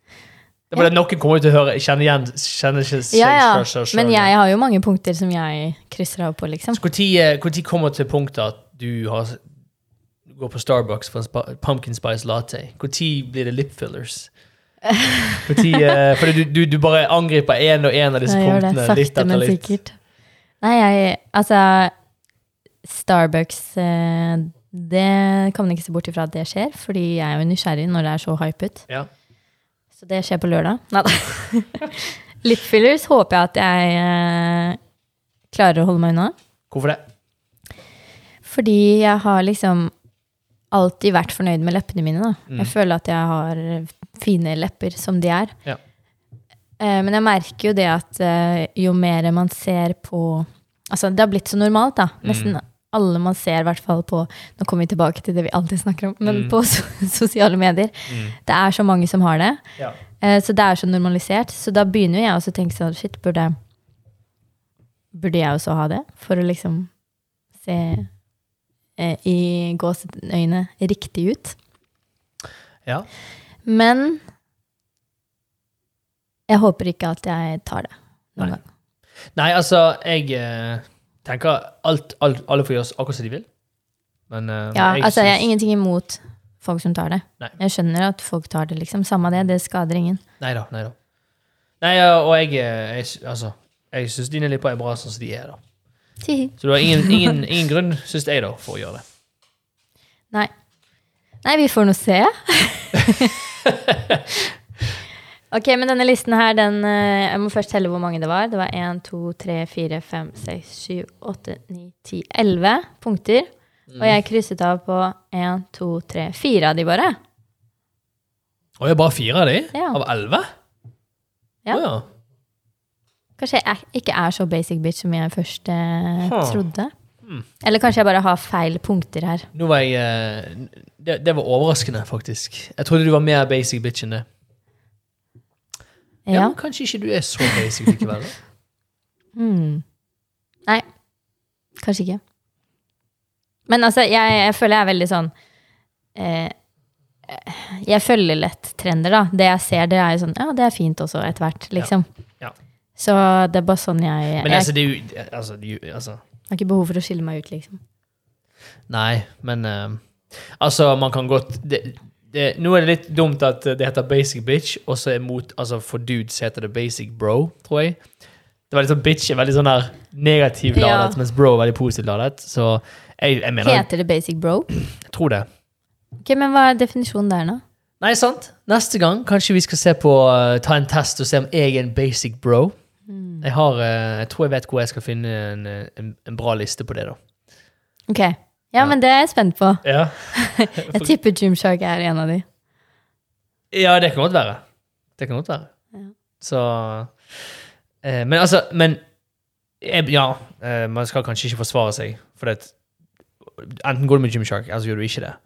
[SPEAKER 1] Det er bare at noen kommer til å høre, kjenne igjen kjenne ikke seg
[SPEAKER 2] Ja,
[SPEAKER 1] selv-
[SPEAKER 2] ja.
[SPEAKER 1] selv- selv.
[SPEAKER 2] Men jeg har jo mange punkter som jeg krysser av på, liksom.
[SPEAKER 1] Så Hvor tid, eh, hvor tid kommer til punktet at du har, går på Starbucks for en spa, pumpkin spice latte? Hvor tid blir det lip fillers? Hvor tid, eh, fordi du, du, du bare angriper én og én av disse
[SPEAKER 2] Jeg gjør det
[SPEAKER 1] punktene. litt
[SPEAKER 2] sakte,
[SPEAKER 1] etter
[SPEAKER 2] men
[SPEAKER 1] litt.
[SPEAKER 2] sikkert. Nei, jeg Altså, Starbucks eh, Det kan man ikke se bort ifra at det skjer, fordi jeg er jo nysgjerrig når det er så hypet.
[SPEAKER 1] Ja.
[SPEAKER 2] Så det skjer på lørdag. Neida. Lip fillers håper jeg at jeg eh, klarer å holde meg unna.
[SPEAKER 1] Hvorfor det?
[SPEAKER 2] Fordi jeg har liksom alltid vært fornøyd med leppene mine. Da. Jeg føler at jeg har fine lepper som de er.
[SPEAKER 1] Ja.
[SPEAKER 2] Eh, men jeg merker jo det at eh, jo mer man ser på Altså, det har blitt så normalt, da. Nesten alle man ser, i hvert fall på Nå kommer vi tilbake til det vi alltid snakker om, men på so sosiale medier. Det er så mange som har det.
[SPEAKER 1] Ja.
[SPEAKER 2] Eh, Så det er så normalisert. Så da begynner jo jeg også å tenke sånn Shit, burde, burde jeg også ha det? For å liksom se eh, i gåseøyne riktig ut.
[SPEAKER 1] ja.
[SPEAKER 2] Men jeg håper ikke at jeg tar det
[SPEAKER 1] Nei.
[SPEAKER 2] noen gang.
[SPEAKER 1] Nei, altså, jeg eh, tenker alt, alt, alle får gjøre akkurat som de vil. Men eh,
[SPEAKER 2] Ja, altså,
[SPEAKER 1] syns-
[SPEAKER 2] jeg har ingenting imot folk som tar det.
[SPEAKER 1] Nei.
[SPEAKER 2] Jeg skjønner at folk tar det, liksom. Samme det, det skader ingen.
[SPEAKER 1] Nei da, nei da. Nei, ja, og jeg, eh, jeg, sy- altså, jeg syns dine lipper er bra sånn som de er, da.
[SPEAKER 2] Nei.
[SPEAKER 1] Så du har ingen, ingen, ingen grunn, syns jeg, da, for å gjøre det.
[SPEAKER 2] Nei, vi får nå se. ok, men denne listen her, den eh, Jeg må først telle hvor mange det var. Det var 1, 2, 3, 4, 5, 6, 7, 8, 9, 10, 11 punkter.
[SPEAKER 1] Mm.
[SPEAKER 2] Og jeg krysset av på 1, 2, 3, 4 av de bare.
[SPEAKER 1] Å, jeg bare fire av de?
[SPEAKER 2] Ja.
[SPEAKER 1] Av elleve?
[SPEAKER 2] Ja.
[SPEAKER 1] Å, ja.
[SPEAKER 2] Kanskje jeg er- ikke er så basic bitch som jeg først eh,
[SPEAKER 1] Huh. Mm.
[SPEAKER 2] trodde. Eller kanskje jeg bare har feil punkter her.
[SPEAKER 1] Nå var jeg eh, det, det var overraskende, faktisk. Jeg trodde du var mer basic bitch enn det. Ja,
[SPEAKER 2] Ja.
[SPEAKER 1] men Kanskje ikke du er så basic likevel. da.
[SPEAKER 2] Hmm. Nei, kanskje ikke. Men altså, jeg, jeg føler jeg er veldig sånn eh, Jeg følger lett trender, da. Det jeg ser, det er jo sånn Ja, det er fint også, etter hvert, liksom.
[SPEAKER 1] Ja.
[SPEAKER 2] Så det er bare sånn jeg jeg,
[SPEAKER 1] Men altså, det er jo altså, det er jo- altså
[SPEAKER 2] har ikke behov for å skille meg ut, liksom.
[SPEAKER 1] Nei, men eh, Altså, man kan godt det, det, Nå er det litt dumt at det heter basic bitch, og så er mot Altså, for dudes heter det basic bro, tror jeg. Det var litt sånn bitch er veldig sånn der negativ
[SPEAKER 2] Ja.
[SPEAKER 1] ladet, mens bro er veldig positivt ladet. Så jeg, jeg mener
[SPEAKER 2] Heter det basic bro?
[SPEAKER 1] Jeg tror det.
[SPEAKER 2] Ok, Men hva er definisjonen der, nå?
[SPEAKER 1] Nei, sant. Neste gang kanskje vi skal se på eh, ta en test og se om jeg er en basic bro.
[SPEAKER 2] Mm.
[SPEAKER 1] Jeg, har, eh, jeg tror jeg vet hvor jeg skal finne en, eh, en, en bra liste på det, da.
[SPEAKER 2] Ok. Ja, men det er jeg spent på.
[SPEAKER 1] Ja,
[SPEAKER 2] Jeg tipper Gymshark er en av de.
[SPEAKER 1] ja det kan godt være. Det kan godt være.
[SPEAKER 2] Ja.
[SPEAKER 1] Så eh, Men altså Men jeg, ja, eh, man skal kanskje ikke forsvare seg, for det, enten går du med Gymshark, eller så gjør du ikke det.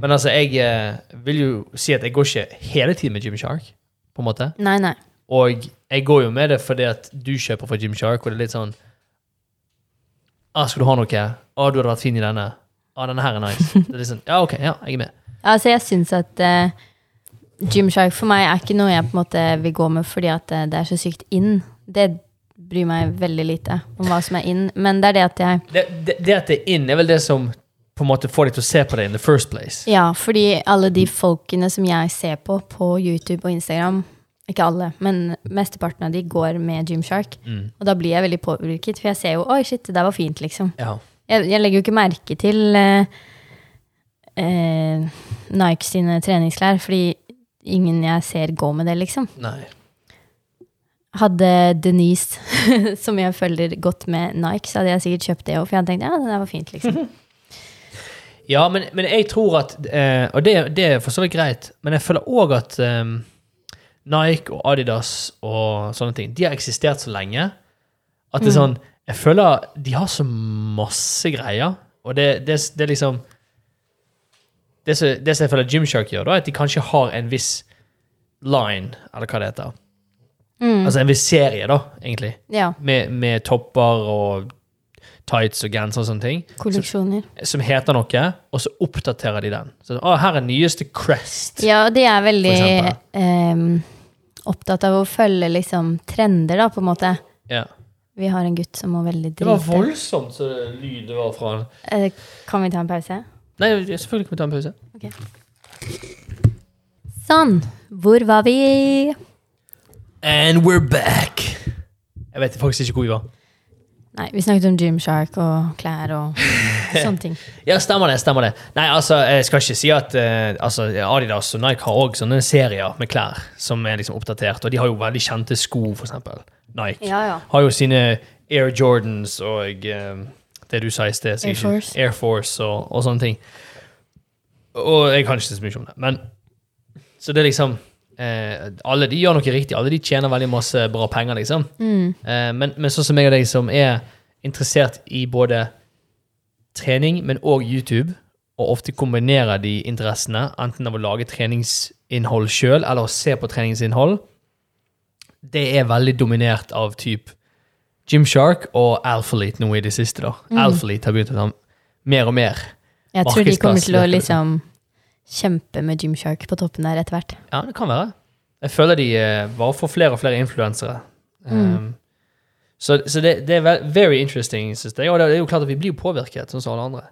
[SPEAKER 1] Men altså, jeg eh, vil jo si at jeg går ikke hele tiden med Gymshark, på en måte.
[SPEAKER 2] Nei, nei.
[SPEAKER 1] Og jeg går jo med det fordi at du kjøper fra Gymshark, og det er litt sånn ah, 'Skal du ha noe?' 'Å, du hadde vært fin i denne.' 'Å, denne her er nice.' Det er litt sånn, Ja, OK, ja, jeg er med.
[SPEAKER 2] Altså, jeg syns at eh, Gymshark for meg er ikke noe jeg på en måte vil gå med fordi at eh, det er så sykt in. Det bryr meg veldig lite om hva som er in, men det er det at jeg
[SPEAKER 1] Det, det, det at det er inn, er vel det som på en måte får deg til å se på det in the first place.
[SPEAKER 2] Ja, fordi alle de folkene som jeg ser på på YouTube og Instagram Ikke alle, men mesteparten av de går med Gymshark. Og da blir jeg veldig påvirket, for jeg ser jo 'oi, shit, det der var fint', liksom.
[SPEAKER 1] Ja.
[SPEAKER 2] Jeg, jeg legger jo ikke merke til eh, eh, Nike sine treningsklær, fordi ingen jeg ser, går med det, liksom.
[SPEAKER 1] Nei.
[SPEAKER 2] Hadde Denise, som jeg følger godt med Nike, så hadde jeg sikkert kjøpt det òg. For jeg hadde tenkt ja, det der var fint, liksom.
[SPEAKER 1] Ja, men, men jeg tror at eh, Og det, det er for så vidt greit, men jeg føler òg at eh, Nike og Adidas og sånne ting, de har eksistert så lenge at det er sånn Jeg føler de har så masse greier, og det, det, det er liksom det som, det som jeg føler Gymshark gjør, da, er at de kanskje har en viss line, eller hva det heter.
[SPEAKER 2] Mm.
[SPEAKER 1] Altså en viserie, da, egentlig.
[SPEAKER 2] Ja.
[SPEAKER 1] Med, med topper og tights og genser og sånne ting.
[SPEAKER 2] Kolleksjoner.
[SPEAKER 1] Som heter noe, og så oppdaterer de den. Så, å, her er nyeste Crest.
[SPEAKER 2] Ja, og de er veldig
[SPEAKER 1] For
[SPEAKER 2] ehm, opptatt av å følge liksom trender, da, på en måte.
[SPEAKER 1] Ja.
[SPEAKER 2] Vi har en gutt som må veldig
[SPEAKER 1] Det var
[SPEAKER 2] drite.
[SPEAKER 1] voldsomt så lyd det var fra den.
[SPEAKER 2] Eh, kan vi ta en pause?
[SPEAKER 1] Nei, selvfølgelig kan vi ta en pause.
[SPEAKER 2] Sånn. Hvor var vi?
[SPEAKER 1] And we're back! Jeg vet faktisk ikke hvor vi var.
[SPEAKER 2] Nei, vi snakket om Gymshark og klær og sånne ting.
[SPEAKER 1] Ja, stemmer det. stemmer det. Nei, altså, jeg skal ikke si at eh, altså, Adidas og Nike har også sånne serier med klær som er liksom oppdatert, og de har jo veldig kjente sko, for eksempel. Nike
[SPEAKER 2] Ja, ja.
[SPEAKER 1] har jo sine Air Jordans og eh, det du sa i sted. så
[SPEAKER 2] Air
[SPEAKER 1] ikke-
[SPEAKER 2] Force.
[SPEAKER 1] Air Force og, og sånne ting. Og jeg kan ikke så mye om det, men Så det er liksom eh, Alle de gjør noe riktig. Alle de tjener veldig masse bra penger, liksom.
[SPEAKER 2] Mm.
[SPEAKER 1] Eh, men, men sånn som jeg og deg som er interessert i både trening, men òg YouTube, og ofte kombinerer de interessene, enten av å lage treningsinnhold sjøl eller å se på treningsinnhold, det er veldig dominert av typ Gymshark og Alphalete nå i det siste. da. Alphalete har begynt å ta mer og mer.
[SPEAKER 2] Jeg tror de kommer til å
[SPEAKER 1] Markedsplass,
[SPEAKER 2] liksom kjempe med Gymshark på toppen der etter hvert.
[SPEAKER 1] Ja, det kan være. Jeg føler de eh, bare får flere og flere influensere. Um, så så det, det er ve- very interesting, synes jeg. Og det er jo klart at vi blir jo påvirket, sånn som alle andre.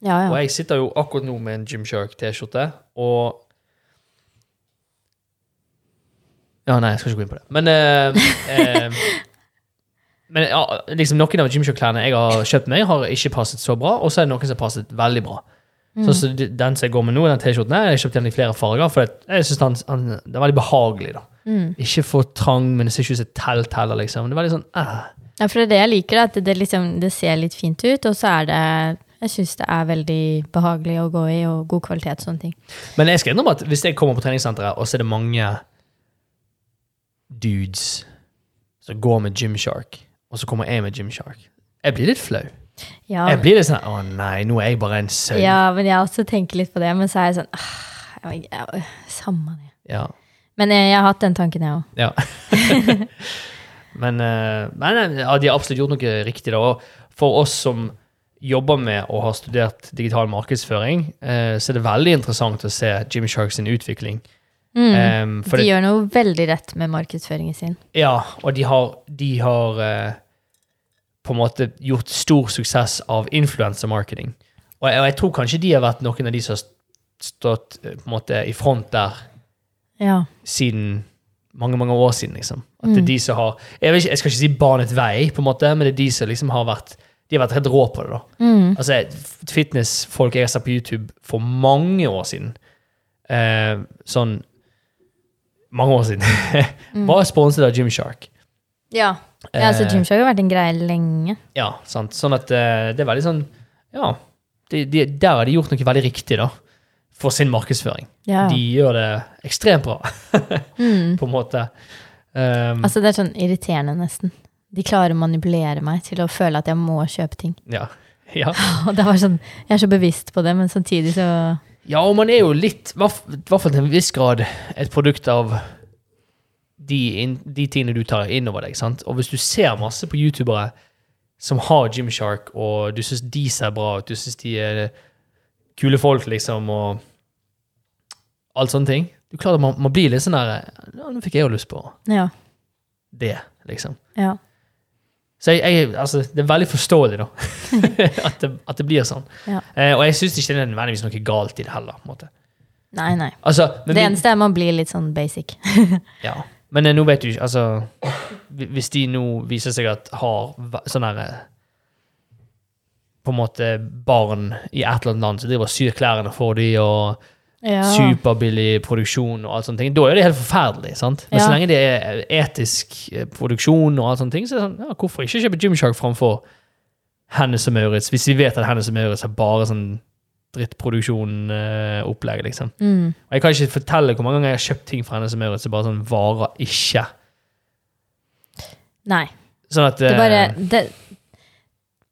[SPEAKER 2] Ja,
[SPEAKER 1] Og
[SPEAKER 2] ja.
[SPEAKER 1] jeg sitter jo akkurat nå med en Gymshark-T-skjorte, og Ja, nei, jeg skal ikke gå inn på det. Men eh, eh, Men ja, liksom noen av Gymshark-klærne jeg har kjøpt meg, har ikke passet så bra, og så er det noen som har passet veldig bra.
[SPEAKER 2] Mm.
[SPEAKER 1] Sånn som de- den som jeg går med nå, den T-skjorten, her, jeg har kjøpt den i flere farger, for at jeg synes den, han- den er veldig behagelig. da.
[SPEAKER 2] Mm.
[SPEAKER 1] Ikke for trang, men det ser ikke ut som et telt heller, liksom. Det er veldig sånn, eh.
[SPEAKER 2] ja for det er det jeg liker, at det, liksom, det ser litt fint ut, og så er det Jeg syns det er veldig behagelig å gå i, og god kvalitet og sånne ting.
[SPEAKER 1] Men jeg skal innrømme at hvis jeg kommer på treningssenteret, og så er det mange dudes som går med Gymshark, og så kommer jeg med Gymshark Jeg blir litt flau.
[SPEAKER 2] Ja,
[SPEAKER 1] Jeg blir litt sånn Å nei, nå er jeg bare en sau. Ja.
[SPEAKER 2] Ah. ja men jeg også tenker litt på det, men så er jeg sånn ah, jeg, jeg, øh, Samme det.
[SPEAKER 1] Ja.
[SPEAKER 2] Men jeg, jeg har hatt den tanken, jeg òg.
[SPEAKER 1] men eh, men ja, de har absolutt gjort noe riktig. da. Og for oss som jobber med og har studert digital markedsføring, eh, så er det veldig interessant å se Gymshark sin utvikling. Eh, for
[SPEAKER 2] Mm, De
[SPEAKER 1] det-
[SPEAKER 2] gjør noe veldig rett med markedsføringen sin.
[SPEAKER 1] Ja, og de har, de har eh, på en måte gjort stor suksess av influencer-marketing. Og, jeg- og jeg tror kanskje de har vært noen av de som har stått eh, på en måte i front der
[SPEAKER 2] Ja.
[SPEAKER 1] siden mange, mange år siden, liksom. At det er de som har jeg, vil ikke, jeg skal ikke si banet vei, på en måte, men det er de som liksom har vært de har vært helt rå på det. da.
[SPEAKER 2] Mm.
[SPEAKER 1] Altså, jeg- Fitnessfolk jeg har sett på YouTube for mange år siden eh, Sånn Mange år siden. Var sponset av Gymshark.
[SPEAKER 2] Ja, ja så
[SPEAKER 1] Eh,
[SPEAKER 2] Gymshark har vært en greie lenge.
[SPEAKER 1] Ja, sant. Sånn at eh, det er veldig sånn Ja. De, de, der har de gjort noe veldig riktig, da. For sin markedsføring.
[SPEAKER 2] Ja.
[SPEAKER 1] De gjør det ekstremt bra, på en måte. Um,
[SPEAKER 2] Mm. Altså Det er sånn irriterende, nesten. De klarer å manipulere meg til å føle at jeg må kjøpe ting.
[SPEAKER 1] ja. Ja.
[SPEAKER 2] Og det var sånn, Jeg er så bevisst på det, men samtidig så
[SPEAKER 1] ja, og man er jo litt, i hvert i hvert fall til en viss grad, et produkt av de, inn- de tingene du tar inn over deg. sant? Og hvis du ser masse på youtubere som har Gymshark, og du syns de ser bra ut, du syns de er kule folk, liksom, og alt sånne ting Du klarer at man, man blir litt sånn der ja, 'Nå fikk jeg jo lyst på
[SPEAKER 2] Ja.
[SPEAKER 1] det', liksom.
[SPEAKER 2] ja.
[SPEAKER 1] Så jeg, jeg, altså, det er veldig forståelig, da. at, det, at det blir sånn.
[SPEAKER 2] Ja.
[SPEAKER 1] Eh, og jeg syns ikke det er nødvendigvis noe galt i det heller. på en måte.
[SPEAKER 2] Nei, nei.
[SPEAKER 1] Altså, men
[SPEAKER 2] Det
[SPEAKER 1] vi-
[SPEAKER 2] eneste er man blir litt sånn basic.
[SPEAKER 1] Ja. Men eh, nå vet du ikke Altså, hvi- hvis de nå viser seg at har va- sånn herre På en måte barn i et eller annet land som driver og syr klærne for de og
[SPEAKER 2] Ja.
[SPEAKER 1] superbillig produksjon og alt sånne ting, da er det helt forferdelig. sant? Men
[SPEAKER 2] Ja.
[SPEAKER 1] så lenge det er etisk eh, produksjon og alt sånne ting, så er det sånn ja, Hvorfor ikke kjøpe Gymshark framfor Hennes og Maurits, hvis vi vet at Hennes og Maurits har bare sånn drittproduksjon-opplegg, liksom?
[SPEAKER 2] Mm.
[SPEAKER 1] Og jeg kan ikke fortelle hvor mange ganger jeg har kjøpt ting fra henne som gjør at det bare sånn varer ikke.
[SPEAKER 2] Nei.
[SPEAKER 1] Sånn at
[SPEAKER 2] Det
[SPEAKER 1] eh,
[SPEAKER 2] bare det,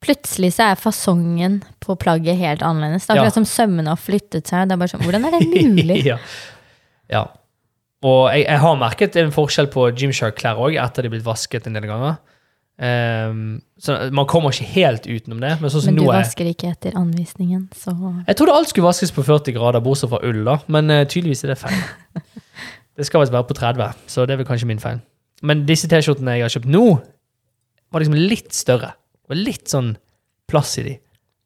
[SPEAKER 2] Plutselig så er fasongen på plagget helt annerledes. Det er
[SPEAKER 1] Ja.
[SPEAKER 2] akkurat som sømmene har flyttet seg. Det er bare sånn, Hvordan er det mulig?
[SPEAKER 1] eh, ja. ja. Og jeg, jeg har merket en forskjell på Gymshark-klær òg, etter de er blitt vasket en del ganger. Ehm, så man kommer ikke helt utenom det. Men sånn som
[SPEAKER 2] Men du
[SPEAKER 1] nå er
[SPEAKER 2] vasker ikke etter anvisningen, så
[SPEAKER 1] Jeg trodde alt skulle vaskes på 40 grader, bortsett fra ull, da. Men eh, tydeligvis er det feil. Det skal visst være på 30, så det er vel kanskje min feil. Men disse T-skjortene jeg har kjøpt nå, var liksom litt større. Det var litt sånn plass i de.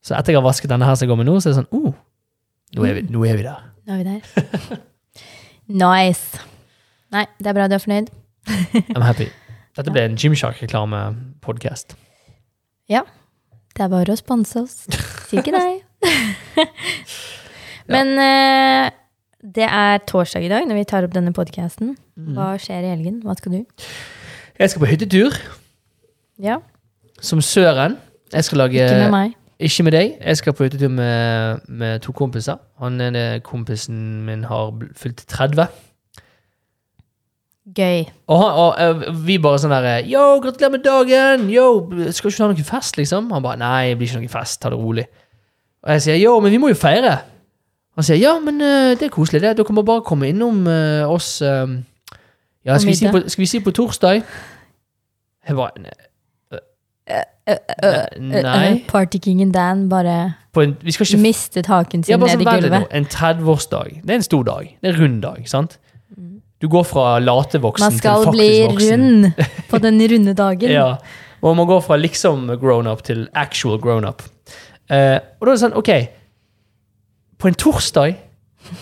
[SPEAKER 1] Så etter jeg har vasket denne her som jeg går med nå, så er det sånn oh, nå er vi, nå er vi der.
[SPEAKER 2] nå er vi der. nice. Nei, det er bra du er fornøyd.
[SPEAKER 1] I'm happy. Dette ble en Gymshark-reklamepodkast.
[SPEAKER 2] Det er bare å sponse oss. Si ikke nei. Men eh, det er torsdag i dag når vi tar opp denne podkasten. Hva skjer i helgen? Hva skal du?
[SPEAKER 1] Jeg skal på hyttetur
[SPEAKER 2] Ja,
[SPEAKER 1] som Søren. Jeg skal lage
[SPEAKER 2] Ikke med meg.
[SPEAKER 1] Ikke med deg. Jeg skal på hyttetur med, med to kompiser. Han ene kompisen min har bl- fylt 30.
[SPEAKER 2] Gøy.
[SPEAKER 1] Og, han, og eh, vi bare sånn der Yo, gratulerer med dagen! Yo, skal ikke du ha noen fest, liksom? Han bare Nei, det blir ikke noen fest. Ta det rolig. Og jeg sier Yo, men vi må jo feire. Han sier Ja, men eh, det er koselig, det. Dere må bare komme innom eh, oss. eh, ja,
[SPEAKER 2] På
[SPEAKER 1] skal vi, si på,
[SPEAKER 2] middag.
[SPEAKER 1] skal vi si på torsdag? Jeg bare ne-
[SPEAKER 2] Eh,
[SPEAKER 1] Nei.
[SPEAKER 2] Partykingen Dan bare
[SPEAKER 1] På en, vi skal ikke
[SPEAKER 2] mistet haken
[SPEAKER 1] Ja, bare sånn,
[SPEAKER 2] sin ned i
[SPEAKER 1] vent litt nå.
[SPEAKER 2] gulvet.
[SPEAKER 1] En 30-årsdag. Det er en stor dag. Det er en rund dag. sant? Du går fra
[SPEAKER 2] Mm. Man
[SPEAKER 1] latevoksen til
[SPEAKER 2] skal
[SPEAKER 1] faktisk
[SPEAKER 2] bli
[SPEAKER 1] voksen.
[SPEAKER 2] rund på den runde dagen.
[SPEAKER 1] Ja, og man går fra liksom grown-up til actual grown-up. Eh, og da er det sånn, ok, på en torsdag,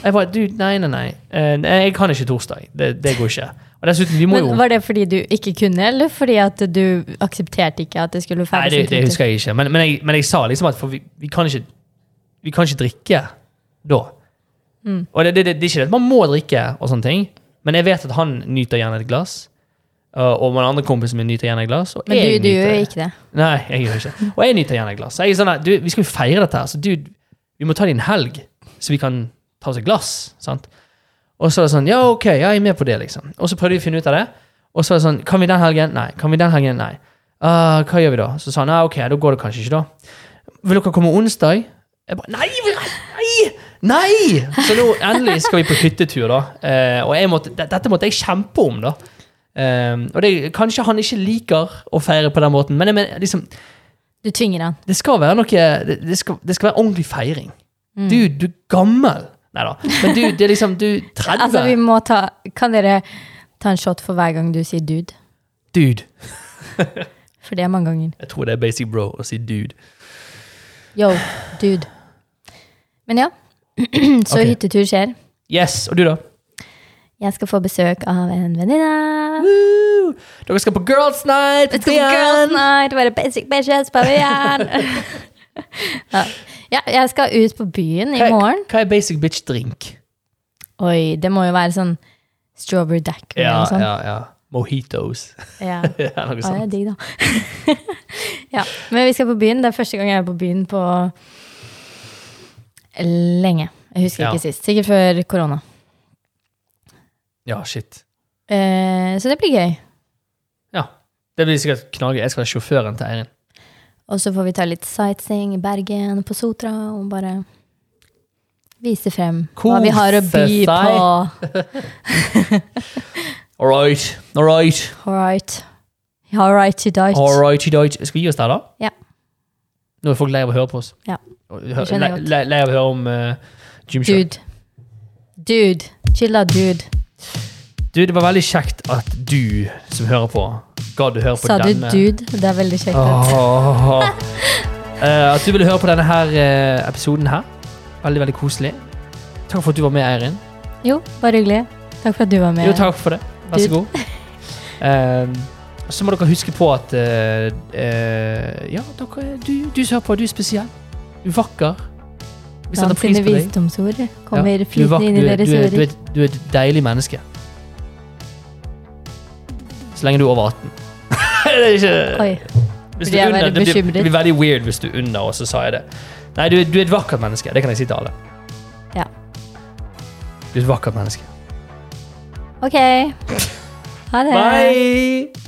[SPEAKER 1] jeg bare, du, nei, nei, nei, eh, nei, jeg kan ikke torsdag, det, det går ikke. Og dessuten, vi må jo...
[SPEAKER 2] Men Var det fordi du ikke kunne, eller fordi at du aksepterte ikke at det skulle
[SPEAKER 1] Nei,
[SPEAKER 2] feires?
[SPEAKER 1] det,
[SPEAKER 2] en
[SPEAKER 1] det
[SPEAKER 2] tur?
[SPEAKER 1] husker jeg ikke, men, men, jeg, men jeg sa liksom at, for vi, vi, kan ikke, vi kan ikke drikke da.
[SPEAKER 2] Mm.
[SPEAKER 1] Og det, det, det, det er ikke det, at man må drikke og sånne ting, men jeg vet at han nyter gjerne et glass, eh, og min andre kompisen min nyter gjerne et glass, og
[SPEAKER 2] Men
[SPEAKER 1] jeg
[SPEAKER 2] du, du gjør
[SPEAKER 1] nyter-
[SPEAKER 2] jo ikke det.
[SPEAKER 1] Nei, jeg gjør ikke det. Og jeg nyter gjerne et glass. Jeg er sånn, her, du, vi skal jo feire dette her, så du, vi må ta det i en helg, så vi kan ta oss et glass. sant? Og så er det sånn, ja, ok, ja, jeg er med på det, liksom. Og så prøvde vi å finne ut av det. Og så er det sånn, kan vi den helgen? Nei. Kan vi den helgen? Nei. «Ah, hva gjør vi da? Så sa han, ja, ok, da går det kanskje ikke da. Vil dere komme onsdag? Jeg bare, nei, nei, nei! Så nå endelig skal vi på hyttetur da. Eh, og jeg måtte, det- dette måtte jeg kjempe om da. Eh, og det, kanskje han ikke liker å feire på den måten, men jeg mener, liksom,
[SPEAKER 2] Du tvinger han.
[SPEAKER 1] det skal være noe Det, det, skal, det skal være ordentlig feiring.
[SPEAKER 2] Mm.
[SPEAKER 1] Du, du er gammel. Nei da. Men du, det er liksom Du 30.
[SPEAKER 2] Altså, vi må ta Kan dere ta en shot for hver gang du sier dude?
[SPEAKER 1] Dude.
[SPEAKER 2] For det er mange ganger.
[SPEAKER 1] Jeg tror det er basic bro å si dude.
[SPEAKER 2] Yo, dude. Men ja. Så
[SPEAKER 1] Ok.
[SPEAKER 2] hyttetur skjer.
[SPEAKER 1] Yes. Og du, da?
[SPEAKER 2] Jeg skal få besøk av en venninne.
[SPEAKER 1] Woo! Dere skal på girls night!
[SPEAKER 2] Vi
[SPEAKER 1] på
[SPEAKER 2] skal på girls
[SPEAKER 1] byen!
[SPEAKER 2] night, være basic bitches på byen. ja. ja, jeg skal ut på byen i
[SPEAKER 1] Hva-
[SPEAKER 2] morgen.
[SPEAKER 1] Hva er basic bitch drink?
[SPEAKER 2] Oi, det må jo være sånn strawberry daiquiri
[SPEAKER 1] Ja,
[SPEAKER 2] og sånn.
[SPEAKER 1] ja, ja. Mojitos.
[SPEAKER 2] Ja.
[SPEAKER 1] ja, noe
[SPEAKER 2] Ja, det
[SPEAKER 1] sånt.
[SPEAKER 2] er digg, da. ja, men vi skal på byen. Det er første gang jeg er på byen på lenge. Jeg husker
[SPEAKER 1] Ja.
[SPEAKER 2] ikke sist. Sikkert før korona.
[SPEAKER 1] Ja, shit.
[SPEAKER 2] Eh, så det blir gøy.
[SPEAKER 1] Ja. Det blir sikkert knallgøy. Jeg skal være sjåføren til Eirin.
[SPEAKER 2] Og så får vi ta litt sightseeing i Bergen, på Sotra, og bare vise frem hva vi har å by
[SPEAKER 1] Kose seg.
[SPEAKER 2] på.
[SPEAKER 1] All right. All right.
[SPEAKER 2] All right. All right, you dight.
[SPEAKER 1] All righty dight. Skal vi gi oss der, da?
[SPEAKER 2] Ja.
[SPEAKER 1] Nå er folk lei av å høre på oss.
[SPEAKER 2] Ja.
[SPEAKER 1] Og hø-
[SPEAKER 2] Det skjønner
[SPEAKER 1] Lei,
[SPEAKER 2] jeg godt.
[SPEAKER 1] lei lei av å høre om eh, Gymshark.
[SPEAKER 2] Dude. Dude. Chilla, dude.
[SPEAKER 1] Du, det var veldig kjekt at du som hører på, gadd å høre på
[SPEAKER 2] Sa du
[SPEAKER 1] denne.
[SPEAKER 2] dude? Det er veldig kjekt. at-
[SPEAKER 1] eh, Åh. Eh, at du ville høre på denne her eh, episoden her. Veldig, veldig koselig. Takk for at du var med, Eirin.
[SPEAKER 2] Jo, bare hyggelig. Takk for at du var med.
[SPEAKER 1] Jo, takk for det. Vær så
[SPEAKER 2] Dude.
[SPEAKER 1] god. Eh, så må dere huske på at eh, eh, Ja, dere, du, du som hører på, du er spesiell. Du er vakker. Vi setter
[SPEAKER 2] Blant
[SPEAKER 1] pris
[SPEAKER 2] sine
[SPEAKER 1] på deg.
[SPEAKER 2] visdomsord kommer
[SPEAKER 1] Ja. Du er
[SPEAKER 2] flytende
[SPEAKER 1] vak-
[SPEAKER 2] inn i
[SPEAKER 1] du er-
[SPEAKER 2] deres
[SPEAKER 1] du er- Du,
[SPEAKER 2] ører.
[SPEAKER 1] er- du er et deilig menneske. Så lenge du er over 18. det er ikke
[SPEAKER 2] Oi.
[SPEAKER 1] hvis du er
[SPEAKER 2] burde jeg
[SPEAKER 1] under-
[SPEAKER 2] være
[SPEAKER 1] det blir-
[SPEAKER 2] bekymret?
[SPEAKER 1] Det blir veldig weird hvis du er under, og så sa jeg det. Nei, du, er- du er et vakkert menneske. Det kan jeg si til alle.
[SPEAKER 2] Ja.
[SPEAKER 1] Du er et vakkert menneske.
[SPEAKER 2] Ok. Ha det.
[SPEAKER 1] Bye!